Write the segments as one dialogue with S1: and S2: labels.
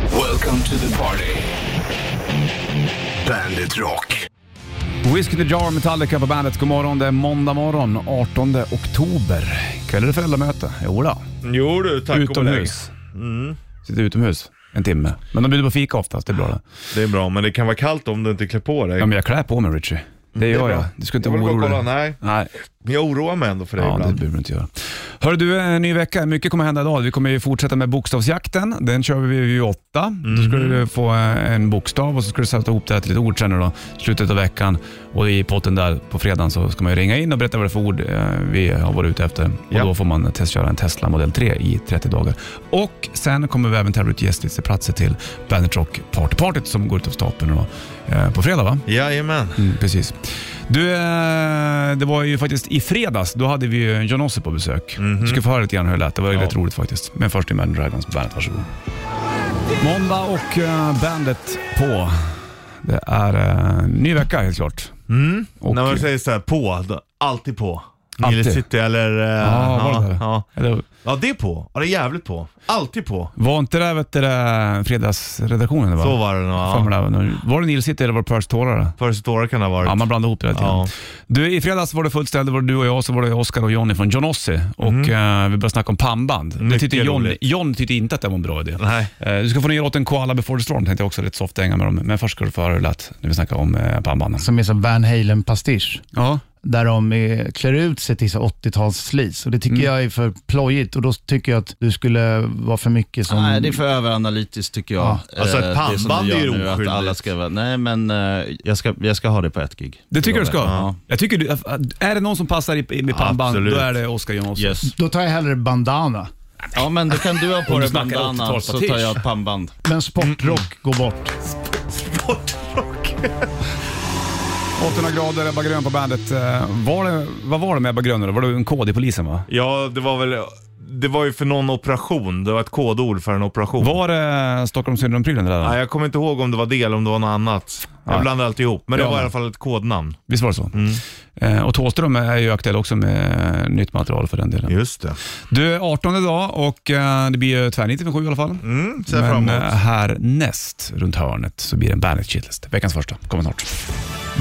S1: Welcome to the party. Bandit Rock.
S2: Whiskey in the Jar, Metallica på bandet. God morgon, det är måndag morgon 18 oktober. Kväll är det föräldramöte. Jo då.
S3: Jo du, tack Mm. och belägg.
S2: utomhus. Sitter utomhus en timme. Men de bjuder på fika oftast, det är bra det.
S3: Det är bra, men det kan vara kallt om du inte klär på dig.
S2: Ja, men jag klär på mig Richie. Det gör
S3: bra.
S2: jag. Du ska inte
S3: Jag
S2: vara
S3: vill bara
S2: orolig.
S3: kolla, nej.
S2: Nej.
S3: Men jag oroar mig ändå för dig
S2: Ja, det
S3: ibland.
S2: behöver du inte göra. Hör du, en ny vecka. Mycket kommer hända idag. Vi kommer ju fortsätta med bokstavsjakten. Den kör vi vid åtta. Då ska
S3: Mm.
S2: du få eh, en bokstav och så ska du sätta ihop det här till ett ord sen nu då, slutet av veckan. Och i potten där på fredagen så ska man ju ringa in och berätta vad det är för ord eh, vi har varit ute efter. Och
S3: Ja.
S2: då får man testköra en Tesla Model 3 i 30 dagar. Och sen kommer vi även tävla ut gästlisteplatser till Bandit Rock Partypartyt som går ut av stapeln då, eh, på fredag va?
S3: Jajamän.
S2: Mm, precis. Du, eh, det var ju faktiskt i fredags, då hade vi ju John Ossie på besök. Du ska få höra lite grann hur det lät. Det var ju
S3: Mhm. Ja.
S2: rätt roligt faktiskt. Men först Imagine Dragons på bandet, varsågod. Måndag och eh, bandet på. Det är eh, ny vecka helt klart. Och,
S3: Mm. När man säger så här på, då, alltid på.
S2: Alltid.
S3: Nile City eller... eh,
S2: Ja, var det
S3: ja,
S2: det?
S3: ja.
S2: eller,
S3: ja, det är på. Ja, det är jävligt på. Alltid på.
S2: var inte det vet du, det, fredagsredaktionen? Va?
S3: Så var det nog.
S2: Fan,
S3: Ja.
S2: men det var- Var det Nile City eller var det Perch Tårar?
S3: Först då kan det ha varit.
S2: Ja, man blandar ihop det lite grann.
S3: Ja.
S2: Du, I fredags var det fullt ställe, det var du och jag, så var det Oscar och Johnny från John Ossie. Och eh, vi började snacka om pannband. Det
S3: Mycket
S2: tyckte John,
S3: roligt.
S2: John tyckte inte att det var en bra idé.
S3: Nej.
S2: Eh, du ska få nya låten Koala before the storm, tänkte jag också, rätt soft dänga med dem. Men först ska du få höra hur det lät när vi snackar om eh, pannbanden.
S4: som är som Van Halen-pastisch.
S2: Ja.
S4: Där de eh, klär ut sig till så 80-talsslis. Och det
S5: Mm.
S4: tycker jag är för plojigt och då tycker jag att du skulle vara för mycket som...
S5: Nej, det är för överanalytiskt tycker jag.
S3: Ja. Alltså, ett
S5: Eh, det som du
S3: pannband
S5: gör
S3: är ju
S5: nu, att
S3: oskyldigt.
S5: alla ska vara, Nej, men eh, jag, ska, jag ska ha det på ett gig.
S2: Det tycker du ska?
S5: Ja.
S2: Jag tycker du, eh, är det någon som passar i, i med pannband,
S3: Absolut.
S2: då är det Oscar John Ossie.
S5: Yes.
S4: Då tar jag hellre bandana.
S5: Ja, men då kan du ha
S2: Om
S5: på
S2: du
S5: dig
S2: snackar
S5: bandana
S2: 80-tals
S5: så tar jag
S2: affisch.
S5: ett pannband.
S4: Men
S5: Mm.
S4: sportrock går bort.
S2: 800 grader, Ebba Grön på bandet. Eh, Var det, vad var det med Ebba Grön? då? Var det en kod i polisen va?
S3: Ja, det var väl... Det var ju för någon operation. Det var ett kodord för en operation.
S2: Var eh, det Stockholmssyndromprylen det där?
S3: Nej, jag kommer inte ihåg om det var det eller om det var något annat.
S2: Nej.
S3: Jag blandar alltid ihop. Men det
S2: Ja,
S3: var i
S2: men-
S3: alla fall ett kodnamn. Mm.
S2: Visst var det så? Eh, och Thåström är ju aktuell också med eh, nytt material för den delen.
S3: Just det.
S2: Du, är 18 idag och eh, det blir ju tvärnit vid sju i alla fall.
S3: Mm, ser jag fram
S2: Men
S3: emot.
S2: eh, här näst, runt hörnet, så blir det en Bandet Shitlist. Veckans första, kommer snart.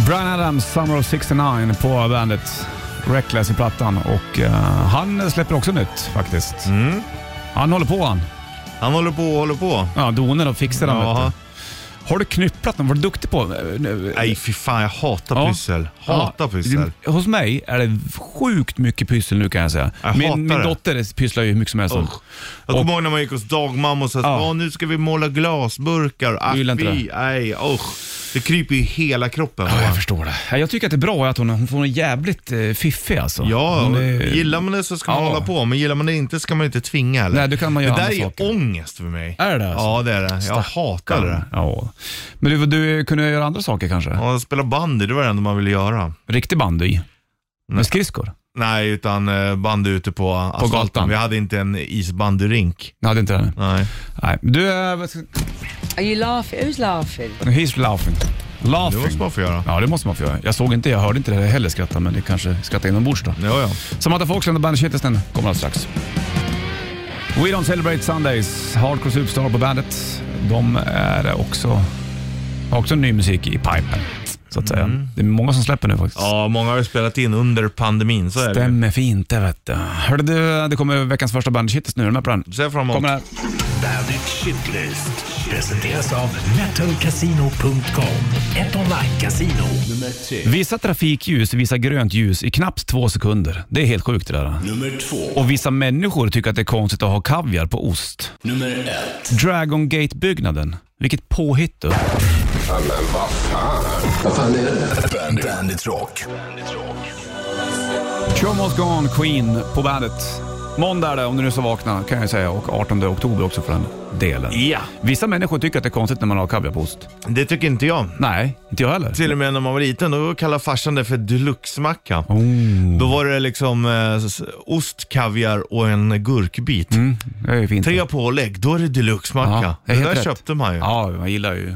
S2: Brian Adams, Summer of 69 på bandet. Reckless i plattan och eh, han släpper också nytt faktiskt.
S3: Mm.
S2: Han håller på han.
S3: Han håller på och håller på.
S2: Ja, donar och fixar han.
S3: Jaha.
S2: vet du. Har du knypplat någon? Var du duktig på? eh, nu-
S3: Nej, fy fan. Jag hatar
S2: Ja.
S3: pussel. Hatar pussel.
S2: Det- Hos mig är det sjukt mycket pyssel nu kan jag säga.
S3: Jag hatar
S2: min, min
S3: det.
S2: dotter pysslar ju hur mycket som helst.
S3: Usch. Alltså, Jag kommer ihåg när man gick hos dagmamma och sa att
S2: Ja.
S3: "Åh, nu ska vi måla glasburkar. Ah,
S2: Du gillar inte
S3: fy, nej, usch. Det kryper ju i hela kroppen.
S2: Ja,
S3: va?
S2: jag förstår det. Ja, Jag tycker att det är bra att hon, hon får en jävligt eh, fiffig alltså.
S3: Ja,
S2: hon är,
S3: gillar man det så ska man
S2: Ja.
S3: hålla på, men gillar man det inte ska man inte tvinga heller.
S2: Nej, då kan man
S3: det
S2: göra
S3: där
S2: andra
S3: är
S2: saker.
S3: ångest för mig.
S2: Är det alltså?
S3: Ja, det är det. Jag hatar det.
S2: Ja. Men du, du kunde göra andra saker kanske?
S3: Ja, spela bandy, det var det enda man ville göra.
S2: Riktig bandy? Med skridskor?
S3: Nej, utan eh, bandy ute på asfalten.
S2: gatan.
S3: Vi hade inte en isbandyrink.
S2: Nej, det är inte det.
S3: Nej.
S2: Nej. Du, eh, vad ska-
S6: Are you laughing? Who's laughing?
S2: he's laughing.
S3: Det måste
S2: Laughing.
S3: man få göra.
S2: Ja, det måste man få göra. Jag såg inte, jag hörde inte det heller skratta, men det kanske skrattar inombords då.
S3: Ja, ja.
S2: Samantha Foxland och Bandet Shitlisten kommer alldeles strax. We Don't Celebrate Sundays, Hardcore Superstar på bandet. De är också, har också ny musik i pipen, så att säga. Det är många som släpper nu faktiskt.
S3: Mm. Ja, många har ju spelat in under pandemin, så är det.
S2: Stämmer fint det vet du. Hörde du, det kommer veckans första Bandet Shitlist nu. Är du med på den?
S3: Ser jag fram emot.
S2: Kommer här.
S1: Bandit Shitlist presenteras av metalcasino.com. Ett online-casino. Nummer tre.
S2: Vissa trafikljus visar grönt ljus i knappt två sekunder. Det är helt sjukt det där.
S1: Nummer två.
S2: Och vissa människor tycker att det är konstigt att ha kaviar på ost.
S1: Nummer ett.
S2: Dragon Gate-byggnaden. Vilket påhitt du.
S1: Bandit, Bandit Rock. Bandit Rock.
S2: Show must go on, Queen på bandet. Måndag är det, om du nu så vakna kan jag ju säga. Och 18 oktober också för den delen.
S3: Ja.
S2: Vissa människor tycker att det är konstigt när man har kaviar på ost.
S3: Det tycker inte jag.
S2: Nej, inte jag heller.
S3: Till och med när man var liten, då kallade farsan det för deluxe-macka.
S2: Oh.
S3: Då var det liksom eh, s- ost, kaviar och en gurkbit.
S2: Det är ju fint.
S3: Tre pålägg, då är det deluxe-macka.
S2: Mm. det
S3: det
S2: är helt
S3: där
S2: rätt.
S3: köpte man ju. Mm.
S2: Ja, man gillar ju...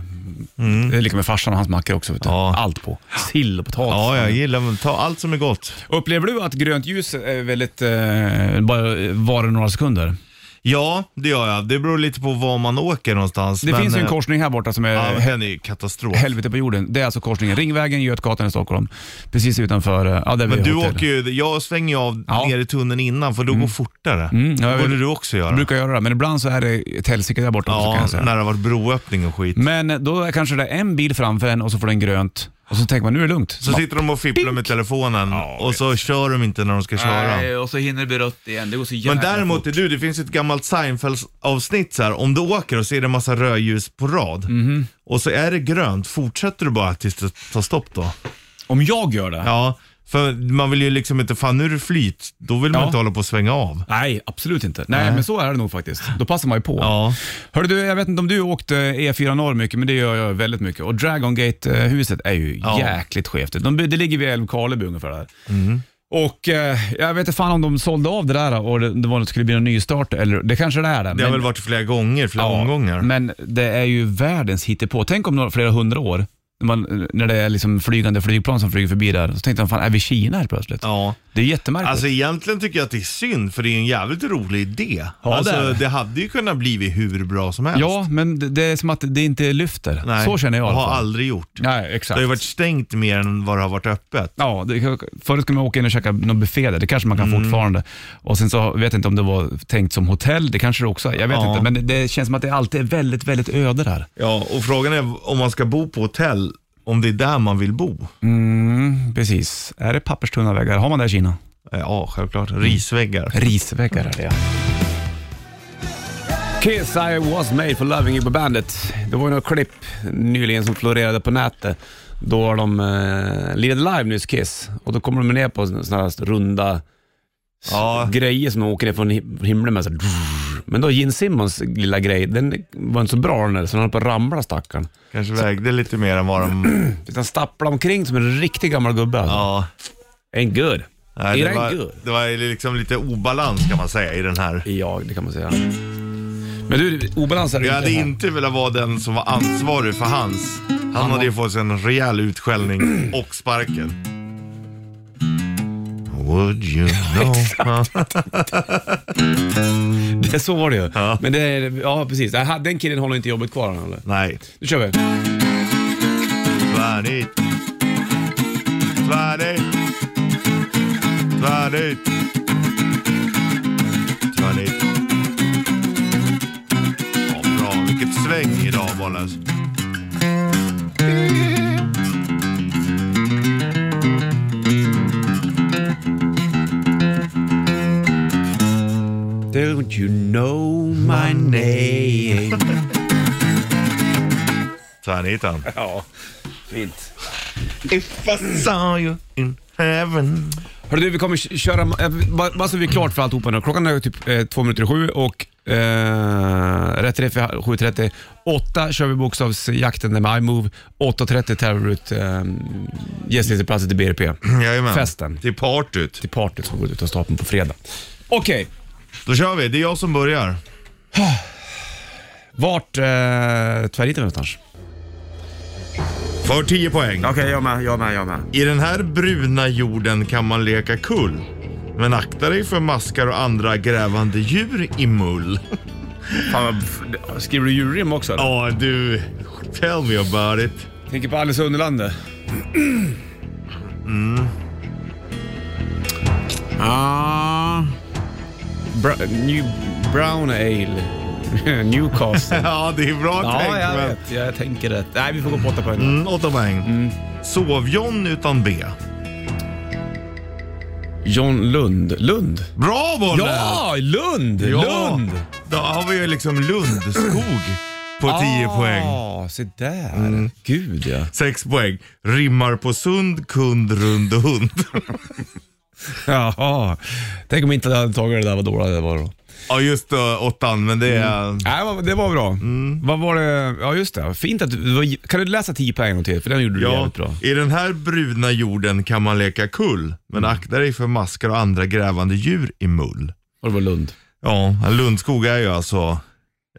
S2: Det är lika med farsan och hans mackor också. Vet du.
S3: Ja.
S2: Allt på. Sill och potatis.
S3: Ja, jag gillar Ta allt som är gott.
S2: Upplever du att grönt ljus är väldigt... Eh, bara varar några sekunder?
S3: Ja, det gör jag. Det beror lite på var man åker någonstans.
S2: Det
S3: men,
S2: finns ju en
S3: eh,
S2: korsning här borta som är
S3: Ja,
S2: he-
S3: den är ju katastrof.
S2: helvete på jorden. Det är alltså korsningen Ringvägen, Götgatan i Stockholm. Precis utanför, eh, ja där
S3: Men
S2: vid
S3: du
S2: hotell.
S3: åker ju, jag svänger ju av
S2: Ja.
S3: ner i tunneln innan för då går fortare.
S2: Mm, ja, jag
S3: det borde
S2: vet.
S3: du också göra.
S2: Jag brukar göra det, men ibland så är det ett helsike där borta också kan
S3: ja,
S2: jag säga.
S3: när det har varit broöppning och skit.
S2: Men då är kanske det är en bil framför en och så får den grönt. Och så tänker man, nu är det lugnt.
S3: Så
S2: Ja.
S3: sitter de och fipplar med telefonen och så kör de inte när de ska köra.
S7: Nej, och så hinner det bli rött igen. Det går så jävla
S3: Men däremot
S7: fort.
S3: är du, det finns ett gammalt Seinfeld-avsnitt så här. Om du åker och ser det en massa rödljus på rad
S2: Mhm.
S3: och så är det grönt, fortsätter du bara tills det tar stopp då?
S2: Om jag gör det?
S3: Ja, för man vill ju liksom inte, fan nu är det flyt, då vill man
S2: Ja.
S3: inte hålla på och svänga av.
S2: Nej, absolut inte. Nej, men så är det nog faktiskt. Då passar man ju på.
S3: Ja.
S2: Hörru du, jag vet inte om du åkte E4 norr mycket, men det gör jag väldigt mycket. Och Dragongate-huset är ju
S3: Ja.
S2: jäkligt skevt. De, det ligger vid Älvkarleby ungefär där.
S3: Mm.
S2: Och eh, jag vet inte fan om de sålde av det där och det, det var, det skulle bli en nystart, eller det kanske det är det.
S3: Det har
S2: men-
S3: väl varit flera gånger, flera omgångar.
S2: Men det är ju världens hittepå. Tänk om några, flera hundra år, när, man, när det är liksom flygande flygplan som flyger förbi där, så tänkte de fan, är vi i Kina helt plötsligt?
S3: Ja.
S2: Det är jättemärkligt.
S3: Alltså egentligen tycker jag att det är synd, för det är en jävligt rolig idé.
S2: Ja,
S3: alltså,
S2: det är det.
S3: det. hade ju kunnat bli hur bra som helst.
S2: ja, men det, det är som att det inte lyfter.
S3: Nej,
S2: Så känner jag i alla
S3: har
S2: fall.
S3: aldrig gjort.
S2: Nej,
S3: Det
S2: exakt.
S3: har ju varit stängt mer än vad det har varit öppet.
S2: Ja, det, förut skulle man åka in och käka någon buffé där, det kanske man kan
S3: Mm.
S2: fortfarande. Och sen så vet jag inte om det var tänkt som hotell, det kanske det också är. Jag vet
S3: Ja.
S2: inte, men det, det känns som att det alltid är väldigt, väldigt öde där.
S3: Ja, och frågan är om man ska bo på hotell, om det är där man vill bo.
S2: Mm, precis. Är det papperstunna väggar? Har man det i Kina?
S3: Ja, självklart. Risväggar.
S2: Risväggar är det ja. Kiss I was made for loving you på bandet. Det var ju några klipp nyligen som florerade på nätet. Då de eh, lirade live nyss, Kiss, och då kommer de ner på sådana här runda
S3: Ja,
S2: grejer som åker ner från him- himlen med så här, Men då Gene Simmons lilla grej, den var inte så bra den där, så den höll på att ramla stackaren.
S3: kanske vägde lite mer än vad de...
S2: Utan stapplade omkring som en riktig gammal gubbe alltså.
S3: Ja.
S2: Ain't good.
S3: Nej,
S2: It
S3: det,
S2: ain't
S3: var,
S2: good.
S3: det var liksom lite obalans kan man säga i den här.
S2: Ja, det kan man säga. Men du, obalans är det
S3: Jag hade
S2: här.
S3: inte velat vara den som var ansvarig för hans. Han hade ju fått sig en rejäl utskällning och sparken. Would you know?
S2: Det, så var det ju.
S3: Ja.
S2: Men det är, ja precis. Det här- Den killen håller inte jobbet kvar han eller?
S3: Nej.
S2: Nu kör vi.
S3: Tvärnit. Tvärnit. Tvärnit. Tvärnit. Ja, bra. Vilket sväng idag, Bollnäs.
S2: Don't you know my name?
S3: Tvärnitan.
S2: ja, fint.
S3: If I saw you in heaven.
S2: Hörru du, vi kommer k- köra, eh, bara, bara så vi är klart för alltihopa nu. Klockan är typ eh, två minuter i sju och eh, rätt till 7.30. Åtta kör vi bokstavsjakten där med iMove. 8.30 tar vi ut eh, gästlistorplatser till BRP.
S3: Jajamän.
S2: Festen.
S3: Till partyt.
S2: Till partyt som går ut av stapeln på fredag. Okej,
S3: Då kör vi. Det är jag som börjar.
S2: vart eh, tvärnitar vi någonstans?
S3: För 10 poäng.
S2: Okej, jag med, jag med, jag med.
S3: I den här bruna jorden kan man leka kull. Men akta dig för maskar och andra grävande djur i mull.
S2: Fan, vad f- skriver du djurrim också? eller?
S3: Ja, du. Tell me about it.
S2: Tänker på Alice i Underlandet. Mm. Ah. Bra- new brown ale. Newcastle.
S3: Ja, det är bra tänkt. men-
S2: Jag tänker rätt. Nej, vi får gå på åtta poäng.
S3: Mm, åtta poäng. Sov John utan B.
S2: John Lund. Lund?
S3: Bra bollen!
S2: Ja, Lund! Lund!
S3: Då har vi ju liksom Lundskog på 10 poäng.
S2: Ja, se där. Gud ja.
S3: 6 poäng. Rimmar på sund, kund, rund och hund.
S2: Jaha. Tänk om inte jag hade tagit det där, vad dåligt det var då.
S3: ja, just det, åttan, men det är...
S2: Nej, vad- Mm. det var bra.
S3: Mm.
S2: Vad var det? Ja, just det. Fint att du... det var- Kan du läsa 10 poäng en gång till? För den gjorde du
S3: Ja,
S2: jävligt bra.
S3: i den här bruna jorden kan man leka kull, men
S2: Mm.
S3: akta dig för maskar och andra grävande djur i mull.
S2: Och det var Lund.
S3: Ja, Lundskog är ju alltså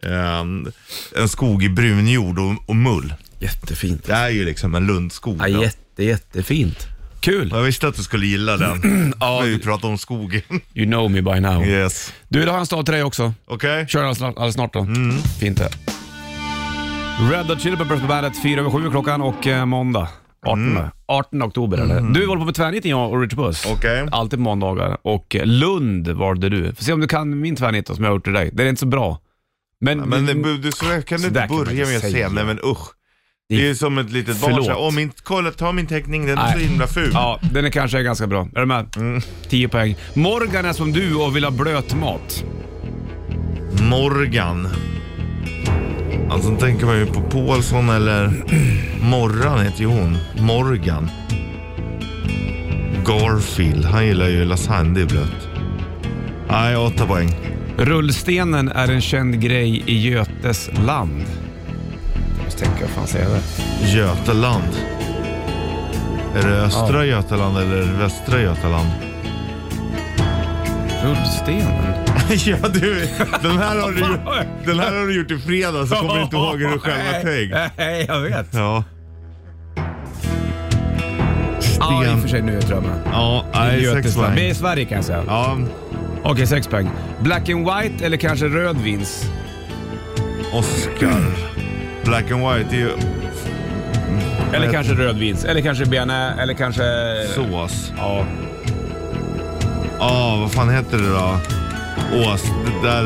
S3: en, en skog i brun jord och, och mull.
S2: Jättefint.
S3: Det är ju liksom en lundskog.
S2: Ja,
S3: då.
S2: jätte, jättefint. Kul!
S3: Jag visste att du skulle gilla den. ja, vi pratar om skogen.
S2: You know me by now.
S3: yes.
S2: Du, idag har jag en stav till dig också.
S3: Okej?
S2: Kör alldeles snart, alldeles snart då.
S3: Mm.
S2: Fint det. Red Hot Chili Peppers på bandet, 4 över 7 klockan och eh, måndag. 18,
S3: Mm.
S2: 18 oktober eller? Du håller på med tvärniten jag och Richard Puss.
S3: Okej.
S2: Alltid på måndagar. Och eh, Lund valde du. Får se om du kan min tvärnit då, som jag har gjort till dig. Det är inte så bra. Men,
S3: Men du, du, så kan du
S2: Mm. Så där
S3: inte
S2: kan man
S3: börja
S2: inte
S3: med att
S2: säga.
S3: säga, nej men usch. Det är ju som ett litet barn
S2: Förlåt.
S3: såhär, åh min, kolla ta min teckning, den är
S2: Nej.
S3: så himla ful.
S2: Ja, den är kanske är ganska bra. Är du med? 10 poäng. Morgan är som du och vill ha blöt mat.
S3: Morgan. Alltså tänker man ju på Paulsson eller Morran heter ju hon. Morgan. Garfield, han gillar ju lasagne, det är blött. Nej, åtta poäng.
S2: Rullstenen är en känd grej i Götes land. Måste tänka, vad fan säger jag det?
S3: Götaland. Är det östra Götaland eller västra Götaland?
S2: Rullstenen?
S3: ja du, den här har du, gjort- den här har du gjort i fredags så kommer du inte ihåg hur du själv har tänkt.
S2: Nej, jag vet.
S3: Ja.
S2: Ja, i och för
S3: Sten.
S2: sig nu är jag tror jag med.
S3: Ja, nej, sex
S2: Götesland. Vi är i
S3: poäng.
S2: Sverige kan jag säga.
S3: Ja,
S2: Okej, sex poäng. Black and white eller kanske röd vins?
S3: Oscar. Black and white är ju
S2: Eller
S3: Rätt.
S2: kanske röd vins? Eller kanske bearnaise? Eller kanske...
S3: sås.
S2: Ja.
S3: Ja, vad fan heter det då? Ås, det där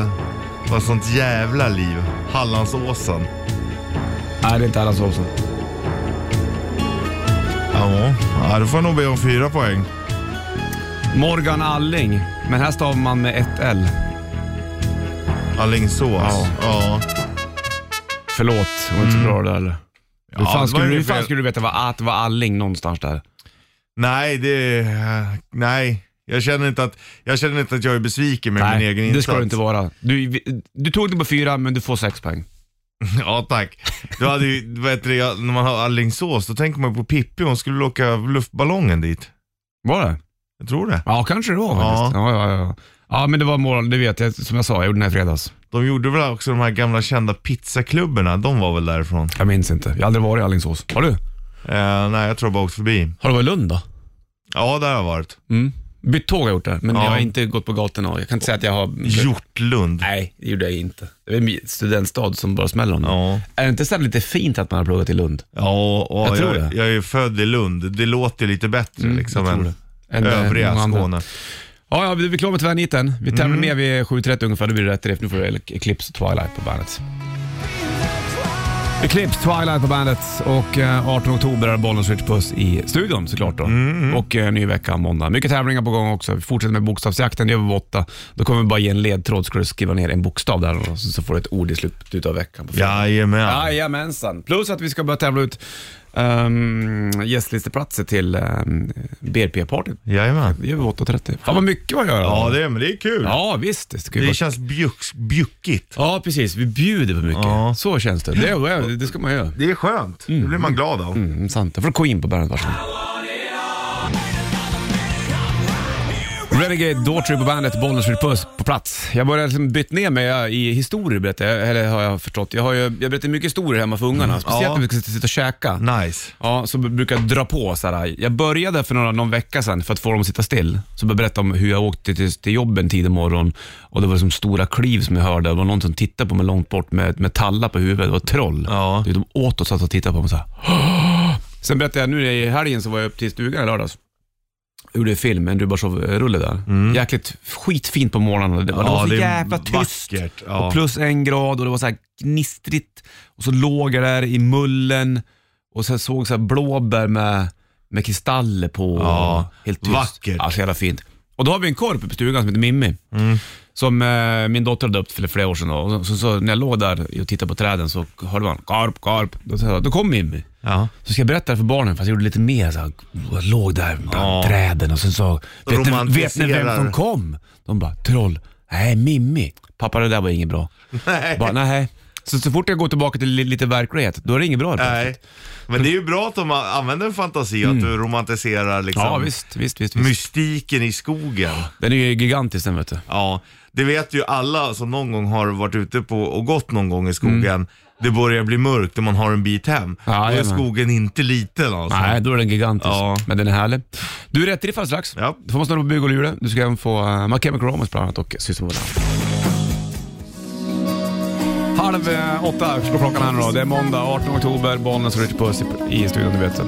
S3: eh, var sånt jävla liv. Hallandsåsen.
S2: Nej, det är inte alls så.
S3: Ja, ja, du får jag nog be om fyra poäng.
S2: Morgan Alling. Men här stavar man med ett L.
S3: Allingsås.
S2: Ja.
S3: Ja.
S2: Förlåt, det var inte så bra det där eller? Mm. hur
S3: det var
S2: fan, skulle, du-
S3: ju
S2: hur fan
S3: fel.
S2: skulle du veta vad att var Alling någonstans där?
S3: Nej, det... eh, Nej. Jag känner, inte att, jag känner inte att jag är besviken med min egen insats.
S2: det ska du inte vara. Du, du tog det på fyra, men du får sex poäng.
S3: Ja, tack. Du hade ju, vad heter det, jag- när man har Alingsås, då tänker man på Pippi, hon skulle åka luftballongen dit.
S2: Var det?
S3: Jag tror det.
S2: Ja, kanske det var faktiskt. Ja, ja, ja. ja men det var morgon, det vet jag. Som jag sa, jag gjorde den här i fredags.
S3: De gjorde väl också de här gamla kända pizzaklubborna, de var väl därifrån?
S2: Jag minns inte. Jag har aldrig varit i Alingsås. Har du?
S3: Eh, nej, jag tror jag bara åkt förbi.
S2: Har du varit i Lund då?
S3: Ja, där har jag varit.
S2: Mm. Bytt tåg har jag gjort där, men
S3: Ja.
S2: jag har inte gått på gatorna. och Jag kan inte säga att jag har...
S3: Hjortlund.
S2: Nej, det gjorde jag inte. Det är en studentstad som bara smäller om det.
S3: Ja,
S2: Är det inte så här lite fint att man har pluggat i Lund?
S3: ja, och
S2: Jag
S3: jag,
S2: tror
S3: jag,
S2: det. Mm,
S3: är ju född i Lund. Det låter ju lite bättre liksom
S2: jag tror
S3: än
S2: Än, eh,
S3: övriga
S2: många andra.
S3: Skåne.
S2: Ja, ja, vi vi är klara med tvärniten. Vi tävlar med vid 7.30 ungefär, då blir det rätt drift. Nu får du Eclipse Twilight på bandet. Eclipse Twilight på bandet och eh, 18 oktober är Bollnäs Rich Puss i studion såklart då. Och eh, ny vecka måndag. Mycket tävlingar på gång också. Vi fortsätter med bokstavsjakten, det gör vi på åtta. Då kommer vi bara ge en ledtråd, ska du skriva ner en bokstav där och så så får du ett ord i slutet av veckan. På fredag.
S3: Jajamän.
S2: Jajamensan. Plus att vi ska börja tävla ut um, gästlisteplatser till um, BRP-partyt.
S3: Jajamän.
S2: Det gör vi 8.30. Fan vad mycket man gör.
S3: Ja, det, men det är kul.
S2: Ja, visst. Det, ska ju
S3: Det
S2: vara...
S3: känns bjucks- bjuckigt.
S2: Ja, precis. Vi bjuder på mycket.
S3: Ja.
S2: Så känns det. Det, är- det ska man göra.
S3: Det är skönt. Det blir man glad av.
S2: Mm, sant. Då får du gå in på bandet. Varsågod. Renegade Daughtry på bandet, Bollnäs Ritz Puss på plats. Jag börjar liksom bytt ner mig jag, i historier, berättar jag, eller har jag förstått. Jag, har ju, jag berättar mycket historier hemma för ungarna, speciellt
S3: Mm. Ja.
S2: när vi ska sitta och käka.
S3: Nice.
S2: Ja, så b- brukar jag dra på så här. Jag började för några, någon vecka sedan för att få dem att sitta still. Så började jag berätta om hur jag åkte till, till jobben tidig morgon och det var liksom stora kliv som jag hörde. Det var någon som tittade på mig långt bort med, med talla på huvudet. Det var ett troll.
S3: Ja.
S2: Du vet, De åt och satt och tittade på mig så här. Sen berättade jag, nu i helgen så var jag upp till stugan i lördags. Jag gjorde film, en Rubashov-rulle där. Jäkligt skitfint på morgonen. Det var, det var så
S3: Mm. är
S2: jävla tyst.
S3: Vackert. Ja.
S2: Och plus en grad och det var så här gnistrigt. Och så låg jag där i mullen och så såg så här blåbär med, med kristaller på.
S3: Ja,
S2: Helt tyst.
S3: vackert. Mm.
S2: Ja, så jävla fint. Och då har vi en korp uppe i stugan som heter Mimmi. Som eh, min dotter hade döpt för flera år sedan. Då. Och så, så, så när jag låg där och tittade på träden så hörde man korp, korp. Då, sa jag, då kom Mimmi.
S3: Ja.
S2: Så ska jag berätta det för barnen, fast jag gjorde lite mer. Så här, jag låg där bland
S3: Ja.
S2: träden och sen sa vet ni, vet ni vem
S3: Romantiserar.
S2: som kom? De bara, troll. Nej, Mimmi. Pappa, det där var inget bra.
S3: Nej.
S2: Bara, nej. Så, så fort jag går tillbaka till li- lite verklighet, då är det inget bra.
S3: Nej. Men det är ju bra att de använder fantasi och att du romantiserar liksom
S2: Mm. Ja, visst, visst, visst. visst.
S3: mystiken i skogen.
S2: Den är ju gigantisk den vet du.
S3: Ja, det vet ju alla som någon gång har varit ute på och gått någon gång i skogen det börjar bli mörkt och man har en bit hem.
S2: Mm. Ja,
S3: då är
S2: jajamän.
S3: skogen inte liten alltså.
S2: Nej, då är den gigantisk.
S3: Ja.
S2: Men den är härlig. Du, rätt riff alldeles strax.
S3: Ja.
S2: Du får man snurra på bygg och lure. Du ska även få uh, My Chemical Romance bland annat och Systembola. Halv eh, åtta slår klockan här nu då. Det är måndag, 18 oktober. Bollnäs och Richard Puss i- i studion, du vet. det.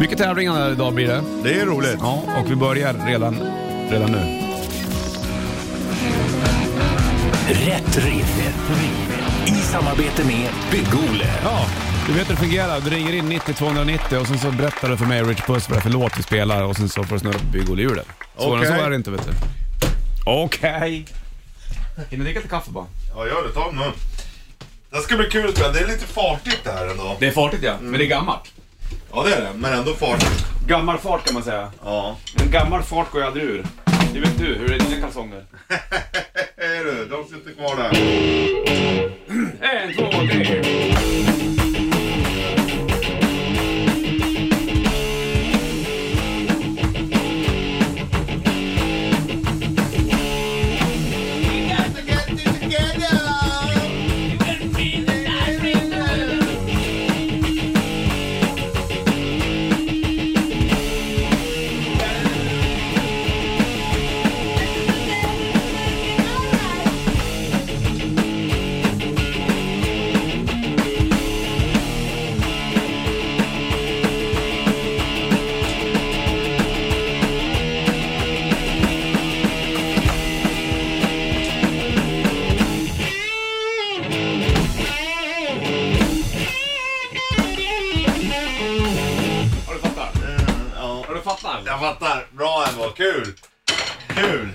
S2: Mycket tävlingar här idag blir det.
S3: Det är roligt.
S2: Ja, och vi börjar redan, redan nu.
S1: Rätt riff. I samarbete med Bygg-Ole.
S2: Ja, du vet hur det fungerar. Du ringer in 90 290 och sen så berättar du för mig och Rich Puss vad det är för låt vi spelar och sen så får du snurra på bygghjulet. Svårare än så
S3: Okej.
S2: är det inte vet du. Okej. Hinner dricka lite kaffe bara?
S3: Ja, gör det. Ta en mun. Det ska bli kul att spela. Det är lite fartigt det här ändå.
S2: Det är fartigt ja, men det är gammalt.
S3: Ja, det är det. Men ändå fartigt.
S2: Gammal fart kan man säga.
S3: Ja.
S2: En gammal fart går ju aldrig ur. Det vet du, hur det är i dina kalsonger.
S3: Hej du, de sitter kvar där.
S2: En, två, tre. Har du fattat?
S3: Eh, Ja,
S2: Har du fattat?
S3: jag fattar. Bra ändå. Kul. Kul.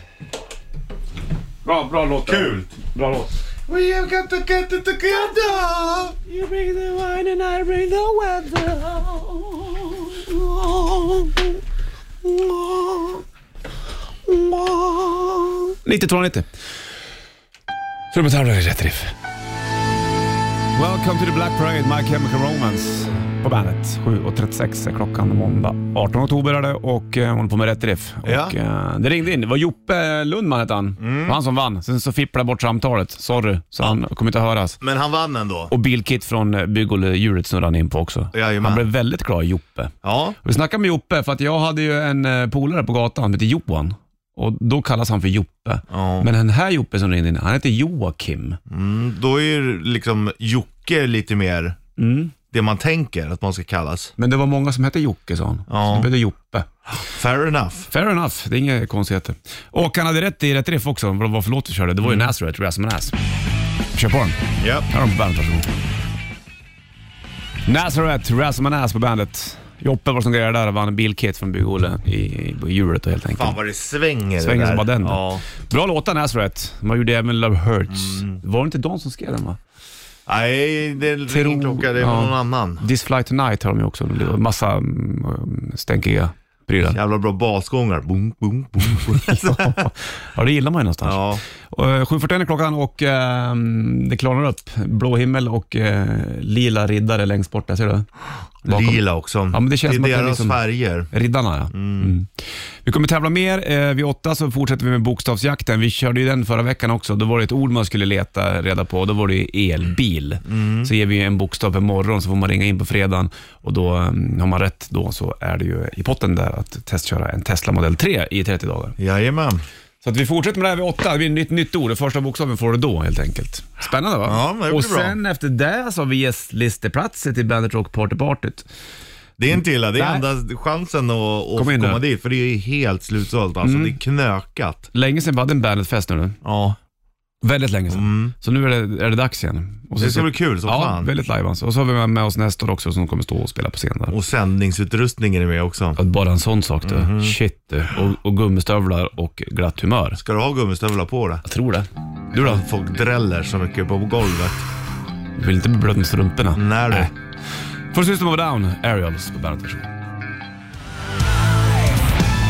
S2: Bra, bra låt. där.
S3: Kul.
S2: Bra låt.
S3: We have got to get it together.
S2: You bring the wine and I bring the weather. Så det betalar rätt riff. Welcome to the Black Parade, My Chemical Romance på bandet. 7.36 är klockan måndag. 18 oktober är det och eh, håller på med rätt riff.
S3: Ja.
S2: Och, eh, det ringde in. Det var Joppe Lundman hette han. Det var han som vann. Sen så fipplade jag bort samtalet. Sorry, så han kommer inte att höras.
S3: Men han vann ändå.
S2: Och Bilkit från eh, Bygghjulet snurrade han in på också.
S3: Jajamän.
S2: Han blev väldigt glad i Joppe.
S3: Ja.
S2: Vi snackade med Joppe för att jag hade ju en eh, polare på gatan som hette Johan. Och då kallas han för Joppe.
S3: ja.
S2: Men den här Joppe som ringde in, han heter Joakim.
S3: Mm, då är ju liksom Jocke lite mer
S2: Mm.
S3: det man tänker att man ska kallas.
S2: Men det var många som hette Jocke sa han.
S3: Ja.
S2: Så det blev det Joppe.
S3: Fair enough.
S2: Fair enough, det är inga konstigheter. Och han hade rätt i rätt riff också, vad det var för låt vi körde. Det var ju
S3: Mm.
S2: Nazareth, Razz Ass. Kör på den.
S3: Japp.
S2: Här har de på bandet, varsågod. Nazareth, Razz Ass på bandet. Joppe var som grejade där och vann en bilkit från Bygg-Olle i, i på hjulet då, helt enkelt.
S3: Fan vad det svänger det
S2: Svänger
S3: där.
S2: som bara den.
S3: Ja.
S2: Bra låtar Nazareth. Man gjorde även Love Hurts.
S3: Mm.
S2: Var det inte de som skrev den va?
S3: Nej, det är
S2: Tro-
S3: ingen klocka. Det är
S2: ja.
S3: någon annan.
S2: This Flight Tonight har de ju också. Det var Massa mm, stänkiga prylar.
S3: Jävla bra basgångar. Boom, boom, boom, boom.
S2: Ja, det gillar man ju någonstans.
S3: ja.
S2: Och, eh, 7.41 är klockan och eh, det klarnar upp. Blå himmel och eh, lila riddare längst bort där, ser du? Bakom.
S3: Lila också.
S2: Ja, men det känns som att
S3: är
S2: det är
S3: deras
S2: liksom-
S3: färger.
S2: Riddarna ja. Mm. Vi kommer tävla mer. Eh, vid åtta så fortsätter vi med bokstavsjakten. Vi körde ju den förra veckan också. Då var det ett ord man skulle leta reda på. Då var det ju elbil.
S3: Mm.
S2: Så ger vi en bokstav per morgon så får man ringa in på fredagen. Och då mm, har man rätt då så är det ju i potten där att testköra en Tesla Model 3 i 30 dagar.
S3: Jajamän.
S2: Så att vi fortsätter med det här vid åtta. Det blir ett nytt, nytt ord. Den första bokstaven får du då helt enkelt. Spännande va?
S3: Ja, det blir
S2: Och
S3: bra.
S2: sen efter det så har vi gästlisteplatser till Bandet Rock Party Partyt.
S3: Det är inte illa. Det är
S2: Nej.
S3: enda chansen att, att
S2: Kom in nu. Mm.
S3: komma dit. För det är ju helt slutsålt. Alltså, det är knökat.
S2: Länge sedan vi hade en Bandet-fest nu.
S3: Ja.
S2: Väldigt länge sedan. Så nu är det, är det dags igen. Och så-
S3: Mm. Det ska bli kul som
S2: ja,
S3: fan.
S2: väldigt live alltså. Och så har vi med oss Nestor också som kommer stå och spela på scen där.
S3: Och sändningsutrustningen är med också.
S2: Att bara en sån sak du.
S3: Mhm.
S2: Shit du. Och, och gummistövlar och glatt humör.
S3: Ska du ha gummistövlar på dig?
S2: Jag tror det. Du då?
S3: Folk dräller så mycket på golvet.
S2: Du vill inte bli blöt med strumporna?
S3: När du.
S2: För System of a Down, Aerials på bandet. Varsågod.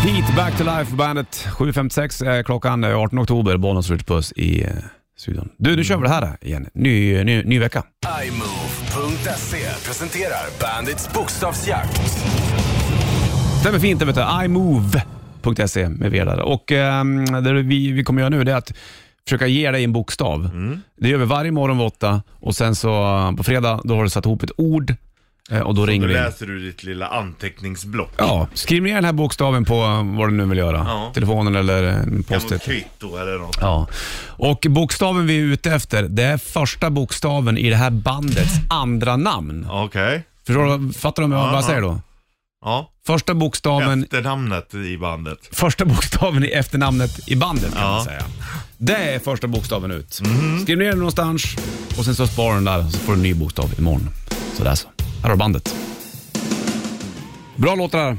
S2: Heat, Back to Life på bandet. 7.56 är eh, klockan, Det är 18 oktober. Bollnäs och Ritchie Puss i eh, studion. Du, nu kör vi det här igen. Ny, ny, ny vecka.
S1: iMove.se presenterar Bandits bokstavsjakt.
S2: Stämmer fint E det vet du. imove.se med V där. Och ehm, det vi, vi kommer göra nu det är att försöka ge dig en bokstav.
S3: Mm.
S2: Det gör vi varje morgon vid åtta och sen så eh, på fredag då har du satt ihop ett ord eh, och då
S3: Då
S2: ringer du in.
S3: läser du ditt lilla anteckningsblock.
S2: Ja, skriv ner den här bokstaven på eh, vad du nu vill göra.
S3: Ja.
S2: Telefonen eller en
S3: Kan vara
S2: post-it.
S3: kvitto eller något.
S2: Ja, och bokstaven vi är ute efter, det är första bokstaven i det här bandets andra namn.
S3: Okej.
S2: Förstår du, fattar du vad
S3: Ja,
S2: jag
S3: ja.
S2: säger då?
S3: Ja.
S2: Första bokstaven,
S3: Efternamnet i bandet.
S2: första bokstaven i efternamnet i bandet kan
S3: Ja.
S2: man säga. Det är första bokstaven ut. Skriv ner den någonstans och sen så sparar den där så får du en ny bokstav imorgon. Så där så. Här har du bandet. Bra låtar här.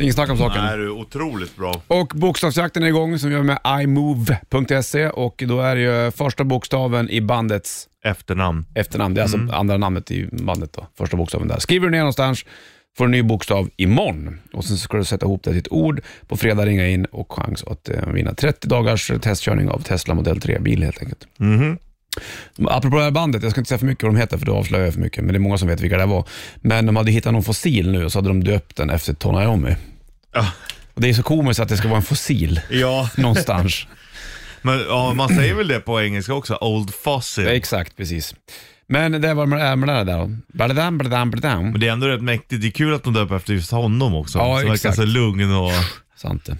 S2: Ingen snack om saken.
S3: Det här är otroligt bra.
S2: Och bokstavsjakten är igång som vi gör med imove.se och då är det ju första bokstaven i bandets
S3: Efternamn.
S2: efternamn. Det är alltså andra namnet i bandet då, första bokstaven där. Skriver du ner någonstans, får en ny bokstav imorgon. Och sen ska du sätta ihop det till ett ord. På fredag ringa in och chans att eh, vinna 30 dagars eh, testkörning av Tesla Model 3-bil helt enkelt. Apropå det här bandet, jag ska inte säga för mycket vad de heter för då avslöjar jag för mycket, men det är många som vet vilka det var. Men de hade hittat någon fossil nu och så hade de döpt den efter Tony Iommi.
S3: Ja.
S2: Och det är så komiskt att det ska vara en fossil
S3: Ja,
S2: någonstans.
S3: men ja, man säger väl det på engelska också. Old
S2: Det är
S3: fossil.
S2: Exakt, precis. Men det var med det här med det här där. då. Badadam, badadam, badadam.
S3: Men det är ändå rätt mäktigt. Det är kul att de döper efter just honom också.
S2: Ja,
S3: Som verkar
S2: exakt.
S3: så lugn och...
S2: Sant det.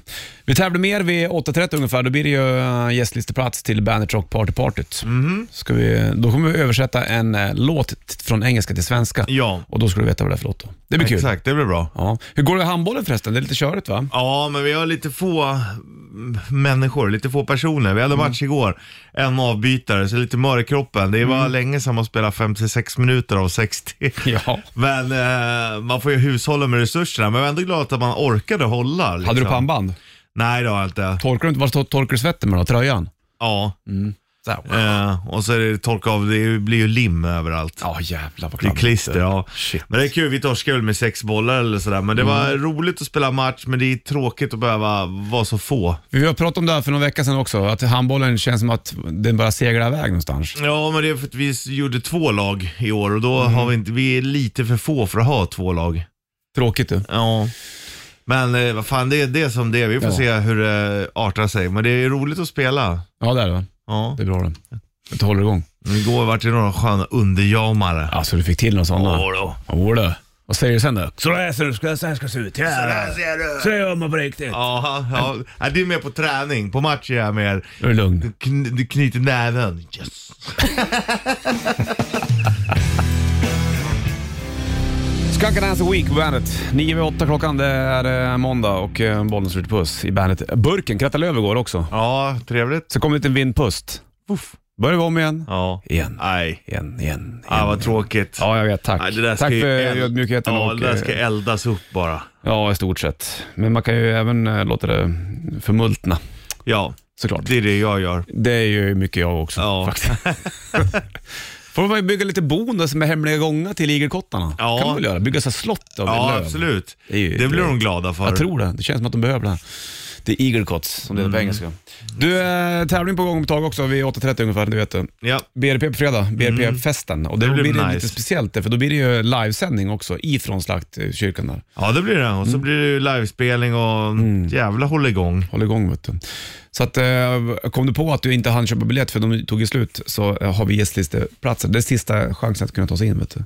S2: Vi tävlar mer vid 8.30 ungefär. Då blir det ju eh, gästlisteplats till Bandit Rock Party Partyt.
S3: Mhm.
S2: Ska vi, då kommer vi översätta en eh, låt t- från engelska till svenska.
S3: Ja.
S2: Och då ska du veta vad det är för låt. Då. Det blir kul.
S3: Exakt, det blir bra.
S2: Ja. Hur går det i handbollen förresten? Det är lite körigt va?
S3: Ja, men vi har lite få mm, människor, lite få personer. Vi hade
S2: Mm.
S3: match igår, en avbytare, så lite mör i kroppen. Det var
S2: Mm.
S3: länge sedan man spelade 56 minuter av 60.
S2: Ja.
S3: Men eh, man får ju hushålla med resurserna. Men jag är ändå glad att man orkade hålla. Liksom.
S2: Hade du pannband?
S3: Nej, det har jag inte.
S2: Torkar du inte, var torkar du svetten med då? Tröjan?
S3: Ja,
S2: Så här.
S3: eh, och så är det torka av, det blir ju lim överallt.
S2: Ja jävlar vad
S3: Det är
S2: kladdigt.
S3: klister, ja.
S2: Shit.
S3: Men det är kul, vi torskade väl med sex bollar eller sådär. Men det var roligt att spela match, men det är tråkigt att behöva vara så få.
S2: Vi har pratat om det här för någon vecka sedan också, att handbollen känns som att den bara seglar iväg någonstans.
S3: Ja, men det är för att vi gjorde två lag i år och då har vi inte, vi är lite för få för att ha två lag.
S2: Tråkigt du.
S3: Ja. Men eh, vad fan, det är det som det är. Vi får
S2: Ja.
S3: se hur det artar sig. Men det är roligt att spela.
S2: Ja det är det va?
S3: Ja.
S2: Det är bra det. Det håller igång.
S3: Igår vart det några sköna underjamare.
S2: Alltså du fick till någon sån då?
S3: Ja, då.
S2: Jodå. Vad säger du sen då? Så där ser du, så här ska det se ut. Så
S3: där ser du.
S2: Så gör man på riktigt.
S3: Ja, ja. ja, det är mer på träning. På match är jag mer,
S2: Nu är du lugn.
S3: kn- du knyter näven. Yes.
S2: Skunk and Dance Week på Bandet. 9 vid 8 klockan, det är eh, måndag och eh, bollen slutar puss i Bandet. Burken krattade över går också.
S3: Ja, trevligt.
S2: Så kom det ut en vindpust.
S3: Uff.
S2: Börjar vi om igen.
S3: Ja.
S2: Igen,
S3: Nej,
S2: igen, igen. igen.
S3: ah, vad tråkigt.
S2: Ja, jag vet. Tack.
S3: Nej, det där ska
S2: tack
S3: ju
S2: för
S3: eld-
S2: ödmjukheten
S3: Ja,
S2: och...
S3: det där
S2: eh,
S3: ska eldas upp bara.
S2: Ja, i stort sett. Men man kan ju även eh, låta det förmultna,
S3: Ja,
S2: såklart.
S3: det är det jag gör.
S2: Det är ju mycket jag också
S3: Ja.
S2: faktiskt. Får man bygga lite bon då, som är hemliga gångar till igelkottarna?
S3: Ja.
S2: kan man väl göra? Bygga så här slott av
S3: Ja,
S2: löv.
S3: absolut.
S2: Det är ju-
S3: Det blir de glada för.
S2: Jag tror det. Det känns som att de behöver det. här. Det är igelkotts, som det heter
S3: Mm.
S2: på engelska. Du, eh, tävling på gång om ett tag också vid 8.30 ungefär, du vet det.
S3: Ja,
S2: BRP på fredag, BRP-festen. Och då
S3: Mm. Det
S2: blir
S3: blir
S2: det lite
S3: nice.
S2: speciellt där, för då blir det ju livesändning också ifrån Slaktkyrkan där.
S3: ja det blir det. Och så
S2: Mm.
S3: blir det ju livespelning och jävla hålligång.
S2: Håll igång vet du. Så att, eh, kom du på att du inte hann köpa biljett för de tog ju slut så eh, har vi gästlisteplatser. Det är sista chansen att kunna ta sig in vet du.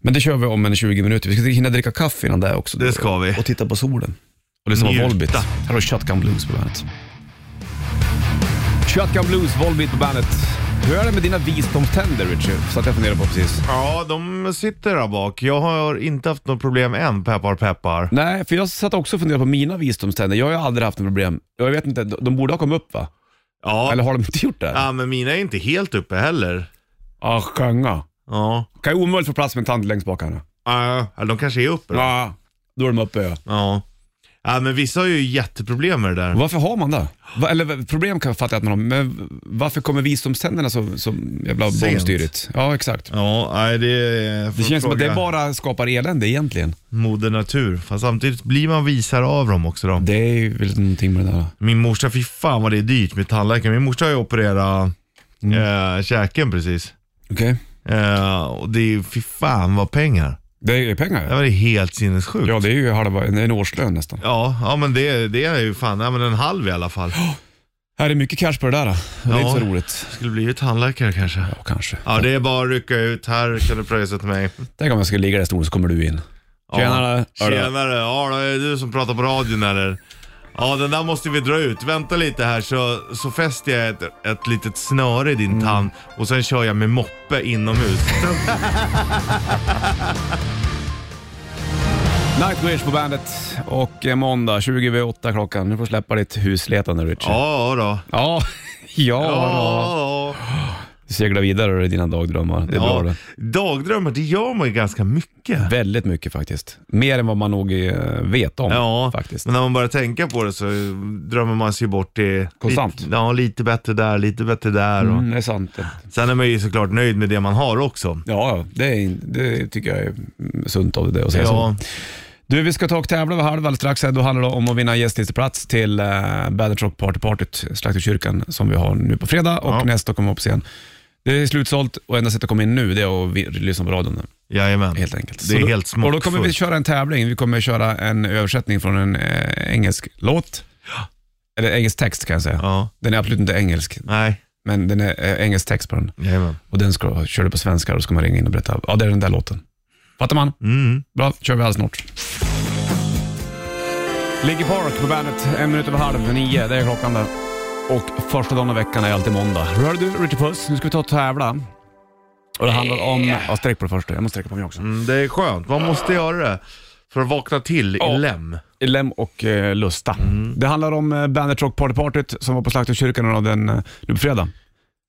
S2: Men det kör vi om en 20 minuter. Vi ska hinna dricka kaffe innan det också.
S3: Det ska vi.
S2: Och titta på solen. Och lyssna på
S3: Njuta.
S2: Volbit. Här har du Shotgun Blues på bandet. Shotgun Blues, Volbit på bandet. Hur är det med dina visdomständer Richard? Så att jag funderar på precis.
S3: Ja, de sitter där bak. Jag har inte haft något problem än, peppar peppar.
S2: Nej, för jag satt också och funderade på mina visdomständer. Jag har ju aldrig haft några problem. Jag vet inte, de de borde ha kommit upp va?
S3: Ja.
S2: Eller har de inte gjort det? Ja,
S3: ja, men mina är inte helt uppe heller.
S2: ah, sjunga.
S3: Ja,
S2: Kan ju omöjligt få plats med en tand längst bak här nu.
S3: ja eller de kanske är uppe då.
S2: Ja. Då är de uppe ja.
S3: Ja. ja, men vissa har ju jätteproblem med det där.
S2: Varför har man det? Va- Eller problem kan jag fatta att man har, men varför kommer visdomständerna så, så jävla
S3: Sent.
S2: bångstyrigt? Ja, exakt.
S3: Ja, nej det är...
S2: Det känns som att det
S3: fråga
S2: bara skapar elände egentligen.
S3: Moder natur. Fast samtidigt blir man visare av dem också då.
S2: Det är ju väl någonting med det där.
S3: Min morsa, fy fan vad det är dyrt med tandläkare. Min morsa har ju opererat
S2: Mm.
S3: eh, käken precis.
S2: Okej.
S3: Eh, och det är ju, fy fan vad pengar.
S2: Det är ju
S3: Det
S2: pengar.
S3: var ju helt sinnessjukt.
S2: Ja,
S3: Ja,
S2: det är ju halva, en årslön nästan.
S3: ja, men det, det är ju fan, ja, men en halv i alla fall.
S2: Här är mycket cash på det där. Det är
S3: Ja.
S2: inte så roligt.
S3: Skulle bli ett tandläkare kanske.
S2: Ja, kanske.
S3: Ja, det är bara att rycka ut. Här kan du pröjsa till mig.
S2: Tänk om jag skulle ligga där i stolen så kommer du in.
S3: Ja.
S2: Tjenare.
S3: Tjenare. Ja, då är det du som pratar på radion eller? Ja, den där måste vi dra ut. Vänta lite här så, så fäster jag ett, ett litet snöre i din
S2: Mm.
S3: tand och sen kör jag med moppe inomhus.
S2: Nightwish på bandet och eh, måndag 20 över 8 klockan. Nu får du släppa ditt husletande Richard.
S3: ja, då.
S2: Ja, ja, då.
S3: Ja,
S2: Du seglar vidare i dina dagdrömmar. Det är bra
S3: ja.
S2: det.
S3: Dagdrömmar, det gör man ju ganska mycket.
S2: Väldigt mycket faktiskt. Mer än vad man nog eh, vet om
S3: Ja,
S2: faktiskt.
S3: men när man börjar tänka på det så drömmer man sig bort till...
S2: Konstant.
S3: Lite, ja, lite bättre där, lite bättre där. Och,
S2: Mm, det är sant. det.
S3: Sen är man ju såklart nöjd med det man har också.
S2: Ja, ja, det, är, det tycker jag är mm, sunt av dig att säga så.
S3: Ja,
S2: Du, vi ska ta och tävla vid halv alldeles strax. här. Då handlar det om att vinna gästlisteplats till uh, Bandit Rock Party-partyt, Slakterkyrkan, som vi har nu på fredag och
S3: Ja.
S2: nästa kommer upp sen. Det är slutsålt och enda sättet att komma in nu det är att vi- lyssna på radion
S3: jajamän.
S2: helt enkelt.
S3: Det
S2: Så
S3: är
S2: då-
S3: helt
S2: Och då kommer vi
S3: smockfullt.
S2: köra en tävling. Vi kommer köra en översättning från en eh, engelsk låt. Eller engelsk text kan jag säga.
S3: Ja,
S2: Den är absolut inte engelsk,
S3: nej,
S2: men den är eh, engelsk text på den.
S3: jajamän.
S2: Och den ska, kör du på svenska och då ska man ringa in och berätta. Ja, det är den där låten. Fattar man?
S3: Mm.
S2: Bra, kör vi alldeles snart. Liggy Park på bandet, en minut över halv nio, det är klockan där. Och första dagen i veckan är alltid måndag. Rör du, Richard Puss, nu ska vi ta och tävla. Och det handlar om... Ja, sträck på det första. Jag måste sträcka på mig också.
S3: Mm, Det är skönt, man måste göra det. För att vakna till
S2: Ja.
S3: i lem.
S2: Lem och eh, Lusta. Det handlar om eh, Bandet Rock Party Partyt som var på Slakterkyrkan den, eh, nu på fredag.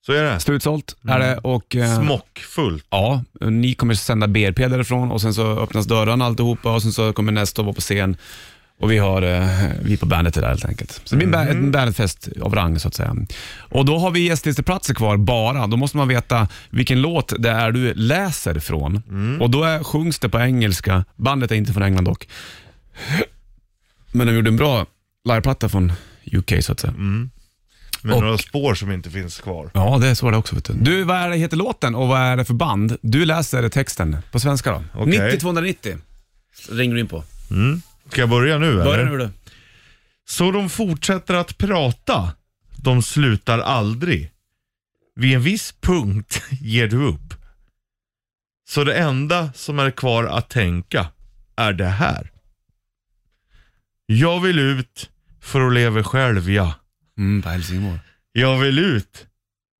S3: Så är det.
S2: Slutsålt är det och... eh,
S3: Smockfullt.
S2: Ja, ni kommer sända BRP därifrån och sen så öppnas dörrarna alltihopa och sen så kommer nästa vara på scen. Och vi har, eh, vi på bandet är där helt enkelt. Så det blir en ba- en bandetfest av rang så att säga. Och då har vi gästlisteplatser kvar bara. Då måste man veta vilken låt det är du läser från. Och då är, sjungs det på engelska. Bandet är inte från England dock. Men de gjorde en bra liveplatta från UK så att säga.
S3: Med
S2: Och-
S3: några spår som inte finns kvar.
S2: Ja, det är så det också. Vet du. du, vad är det heter låten och vad är det för band? Du läser texten på svenska då.
S3: Okej.
S2: 90 290 ringer du in på.
S3: Ska jag börja nu eller?
S2: Börja nu du.
S3: Så de fortsätter att prata. De slutar aldrig. Vid en viss punkt ger du upp. Så det enda som är kvar att tänka är det här. Jag vill ut för att leva själv, ja.
S2: Mm, på Helsingborg.
S3: Jag vill ut.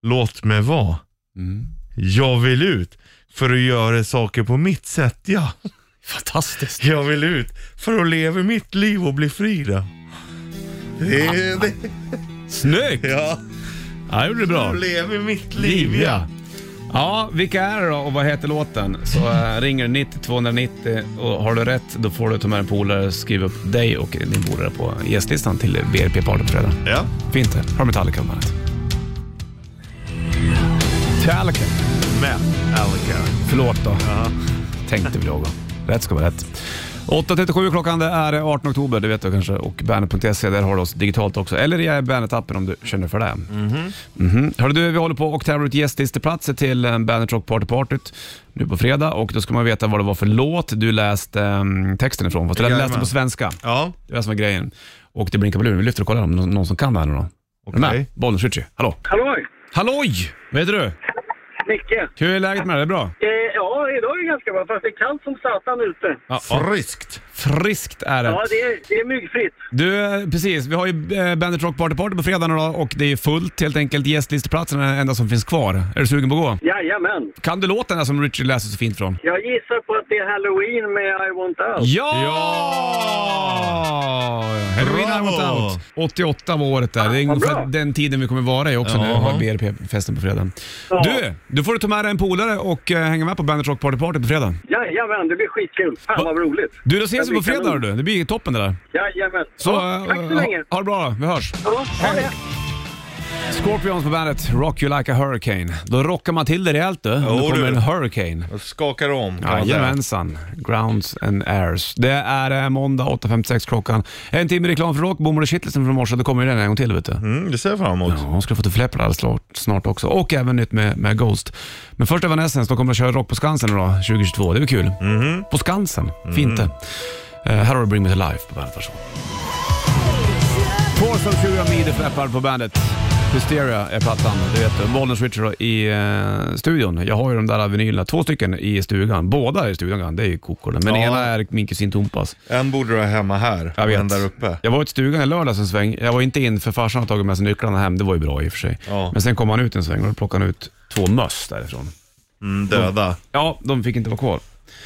S3: Låt mig vara.
S2: Mm.
S3: Jag vill ut för att göra saker på mitt sätt, ja.
S2: Fantastiskt.
S3: Jag vill ut för att leva mitt liv och bli fri, då. Det är det.
S2: Snyggt!
S3: Ja.
S2: Ja, det gjorde du bra.
S3: Jag lever mitt liv, ja.
S2: Ja. Ja, vilka är det då och vad heter låten? Så eh, ringer du 90 290 och har du rätt då får du ta med en polare, skriva upp dig och din polare på gästlistan till BRP Party på fredag.
S3: ja.
S2: Fint det. Har Metallica på bandet. Metallica.
S3: Men, Alka.
S2: Förlåt då. Tänkte vi då. Rätt ska vara rätt. 8.37 klockan, det är 18 oktober, det vet du kanske. Och bandet.se, där har du oss digitalt också. Eller i Bandet-appen om du känner för det. Mhm. Hörru du, vi håller på och tävlar ut gästlisteplatser till eh, Bandet Rock Party Partyt nu på fredag. Och då ska man veta vad det var för låt du läste ehm, texten ifrån. Fast du läste den
S3: Jajamän.
S2: på svenska.
S3: Ja,
S2: Det är det som är grejen. Och det blinkar på luren. Vi lyfter och kollar om någon, någon som kan det här nu då. Är du
S3: okej.
S2: med? Bollen switchy. Hallå!
S8: Halloj!
S2: Halloj! Vad heter du?
S8: Micke!
S2: Hur är läget med dig? Det är bra?
S8: Eh, ja, idag är det ganska bra, fast det är kallt som satan ute.
S2: Ja,
S3: Friskt.
S2: Friskt är det.
S8: Ja, det är, det är myggfritt.
S2: Du, eh, precis. Vi har ju eh, Bandit Rock Party Party på fredag idag och det är fullt helt enkelt. Gästlisteplatsen är den enda som finns kvar. Är du sugen på att gå?
S8: Jajamän!
S2: Kan du låten där som Richard läser så fint från?
S8: Jag gissar på att det är halloween med I want out.
S2: Ja!
S3: Ja!
S2: Halloween I want
S3: Bravo!
S2: out. 88 var året där. Det är
S8: vad
S2: ungefär
S8: bra.
S2: den tiden vi kommer vara i också när vi har BRP-festen på fredag.
S8: Ja.
S2: Du, du får du ta med dig en polare och eh, hänga med på Bandit Rock Party Party på fredag.
S8: Jajamän, det blir skitkul. Fan vad roligt.
S2: Du, då ses
S8: Det
S2: vi på
S8: blir
S2: fredag
S8: kanon.
S2: du. Det blir toppen det där.
S8: Jajamän.
S2: Så,
S8: ja,
S2: eh,
S8: tack så
S2: ha-
S8: länge.
S2: Ha det bra då. Vi hörs.
S8: Ja, ha det.
S2: Scorpions på bandet, Rock You Like A Hurricane. Då rockar man till det rejält du, om det
S3: Jo,
S2: kommer
S3: du.
S2: en hurricane.
S3: Jag skakar om. kan man säga.
S2: Jajamensan, Grounds and Airs. Det är eh, måndag 8.56 klockan. En timme reklam för rock, bomull och kittelsen från morse. Då kommer ju den en gång till vet du.
S3: Mm, det ser jag fram emot.
S2: Ja, hon ska få till Fläppar alldeles snart, snart också. Och även nytt med, med Ghost. Men först Evanescence, de kommer att köra Rock på Skansen idag 2022. Det blir kul. På Skansen, fint det. Eh, här har du Bring Me To Life på bandet. Varsågod. Paws of Sugar Media Flappard på bandet. Hysteria är plattan, det vet du. Bollnäs Richard då i eh, studion. Jag har ju de där vinylerna, två stycken i stugan. Båda är i stugan, det är ju koko. det. Men
S3: Ja.
S2: ena är min kusin Tompas.
S3: En borde du ha hemma här
S2: Jag
S3: och
S2: vet.
S3: en där uppe.
S2: Jag var i stugan i lördags en sväng. Jag var inte in för farsan hade tagit med sig nycklarna hem. Det var ju bra i och för sig.
S3: Ja.
S2: Men sen kom han ut en sväng och då plockade han ut två möss därifrån.
S3: Mm, döda.
S2: Ja, de fick inte vara kvar.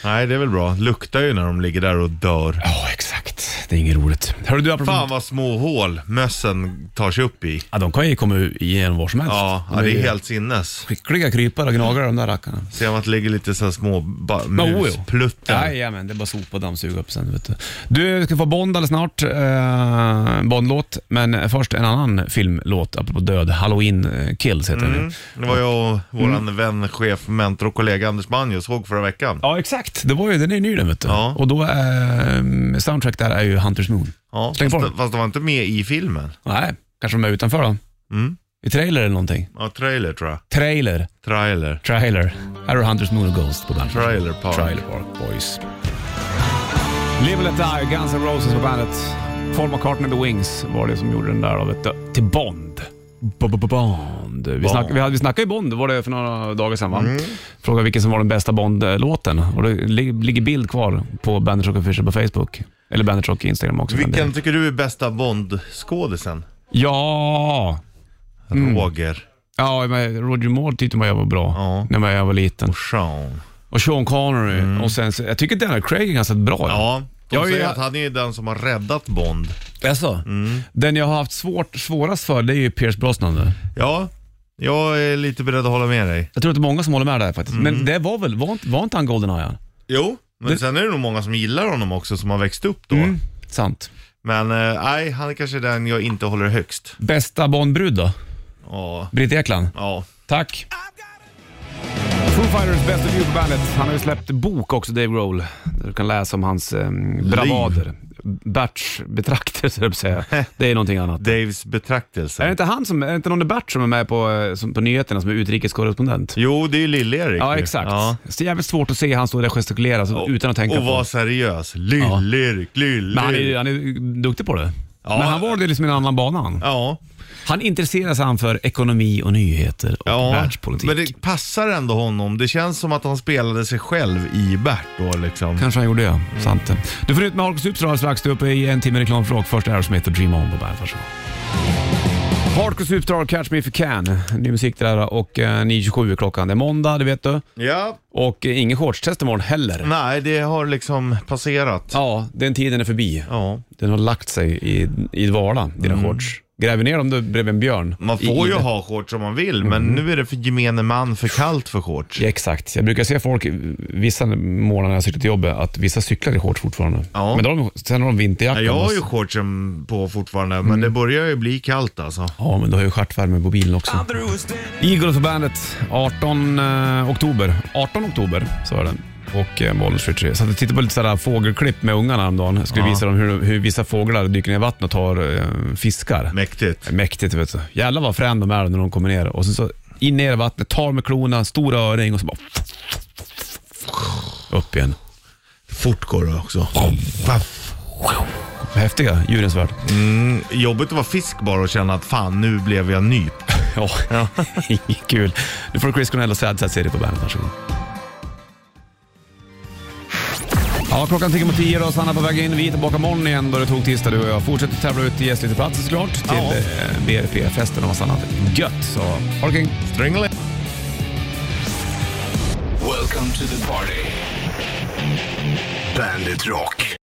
S3: Nej, det är väl bra. Luktar ju när de ligger där och dör.
S2: Ja, exakt. Det är inget roligt. Hörru du, apropå...
S3: Fan vad små hål mössen tar sig upp i.
S2: Ja, de kan ju komma igen var som helst.
S3: Ja,
S2: De
S3: ja det
S2: ju
S3: är helt sinnes.
S2: Skickliga krypare och gnagare de där rackarna.
S3: Ser man att det ligger lite så här små ba-
S2: ojo.
S3: muspluttar.
S2: Jajamän, det är bara sopa och dammsuga upp sen. Vet du. du ska få Bond alldeles snart. Eh, Bondlåt, men först en annan filmlåt, apropå död. Halloween eh, Kills heter den
S3: Mm.
S2: ju.
S3: Det var jag och våran vän, chef, mentor och kollega Anders Manjo såg förra veckan.
S2: Ja, exakt. Det var ju, den är ju ny den vet du.
S3: Ja.
S2: Och då, eh, soundtrack där är ju Hunters Moon.
S3: Ja,
S2: Släng på
S3: fast,
S2: den.
S3: fast de var inte med i filmen.
S2: Nej, kanske de är utanför då?
S3: Mm.
S2: I trailer eller någonting?
S3: Ja, trailer tror jag.
S2: Trailer.
S3: Trailer.
S2: Trailer. Här har Hunters Moon och Ghost på bandet.
S3: Trailer Park.
S2: Trailer Park Boys. Live and Let Die, Guns N' Roses på bandet. Paul McCartney and the Wings var det som gjorde den där då, vet du. Till Bond. Bond. Vi, snack, vi, hade, vi snackade ju Bond, var det för några dagar sedan va?
S3: Mm.
S2: Frågade vilken som var den bästa Bond-låten och det li- ligger bild kvar på Bandit Rock Official på Facebook. Eller Bandit Rock Instagram också. för den
S3: Vilken
S2: delen.
S3: tycker du är bästa Bond-skådisen?
S2: Ja! Mm.
S3: Roger
S2: Ja, men Roger Moore tyckte man jag var bra
S3: Ja.
S2: när jag var liten.
S3: och Sean.
S2: Och Sean Connery. Och sen, så- jag tycker Daniel Craig är ganska bra.
S3: Ja, de
S2: Jag är-
S3: säger att han är den som har räddat Bond.
S2: Jaså? Den jag har haft svårt, svårast för, det är ju Pierce Brosnan. Då.
S3: Ja, jag är lite beredd att hålla med dig.
S2: Jag tror att det är många som håller med där faktiskt. Men det var väl, var inte, var inte han Goldeneye?
S3: Jo, men sen är det nog många som gillar honom också som har växt upp då.
S2: Mm. Sant.
S3: Men eh, nej, han är kanske den jag inte håller högst.
S2: Bästa Bondbrud då?
S3: Ja,
S2: Britt Ekland.
S3: ja.
S2: Tack. Foo Fighters Best of You på bandet. Han har ju släppt bok också, Dave Grohl. Där Du kan läsa om hans eh, bravader. Berts betraktelse, höll jag på att säga. Det är någonting annat.
S3: Daves
S2: Är det
S3: betraktelse.
S2: inte han som, är det inte någon i Bert som är med på, eh, som, på nyheterna som är utrikeskorrespondent?
S3: Jo, det är ju Lill-Erik
S2: Ja,
S3: ju.
S2: exakt. Så jävligt svårt att se han stå där och gestikulera så, utan att tänka
S3: och
S2: på
S3: vara seriös. Lill-Erik,
S2: Men han är, ju-
S3: Lill-Erik.
S2: han är ju duktig på det.
S3: Ja.
S2: Men han var det liksom i en annan bana han.
S3: Ja,
S2: Han intresserar sig han för ekonomi och nyheter och
S3: ja.
S2: världspolitik.
S3: men det passar ändå honom. Det känns som att han spelade sig själv i Bert då liksom.
S2: Kanske han gjorde, ja. Sant det. Du får ut med Harkus Uppsala strax. Du är uppe i en timme reklam för rock. Först Aerosmith och Dream On på bandet. Varsågod. Harkus Uppsala, Catch Me If You Can. Ny musik det där och eh, 9.27 är klockan. Det är måndag, det vet du.
S3: Ja,
S2: Och eh, ingen shortstest imorgon heller.
S3: nej det har liksom passerat.
S2: Ja, den tiden är förbi.
S3: Ja.
S2: Den har lagt sig i, i dvala, dina shorts. Gräver ner dem du bredvid en björn.
S3: Mm. Man
S2: I-
S3: får
S2: i
S3: ju
S2: det.
S3: ha shorts om man vill, men nu är det för gemene man för kallt för shorts.
S2: Ja, exakt. Jag brukar se folk vissa morgnar när jag cyklar till jobbet att vissa cyklar i shorts fortfarande.
S3: Ja.
S2: Men då har de, sen har de vinterjackan.
S3: Nej, jag har ju
S2: och-
S3: shortsen på fortfarande, men
S2: Mm.
S3: det börjar ju bli kallt alltså.
S2: Ja, men du har ju stjärtvärme på bilen också. Eagles och bandet, 18 eh, oktober. 18 oktober, så är det. Och eh, Bollnäs Ritchie. Jag satt och tittade på lite sådär fågelklipp med ungarna häromdagen. Jag skulle visa dem hur, hur vissa fåglar dyker ner i vattnet och tar eh, fiskar.
S3: Mäktigt.
S2: Mäktigt vet du. Jävlar vad frän de är när de kommer ner. Och sen så in ner i vattnet, tar med klorna, stora öring och så bara... Upp igen.
S3: Fort går det också.
S2: Häftiga, djurens värld.
S3: Jobbigt att vara fisk bara och känna att fan, nu blev jag nyp.
S2: Ja, kul. Nu får du Chris Cornell och Sad Sad City på bandet. Varsågod. Ja, klockan tickar mot tio då. Sanna på väg in. Vi är tillbaka imorgon igen då det tog tisdag du och jag. Fortsätter tävla ut gästlitteplatser såklart till
S3: Ja.
S2: eh, BRP-festen och massa annat gött. Så ha det kring.
S3: Strängla.
S1: Welcome to the party. Bandit Rock.